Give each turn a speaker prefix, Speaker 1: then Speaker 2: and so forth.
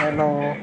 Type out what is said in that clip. Speaker 1: あの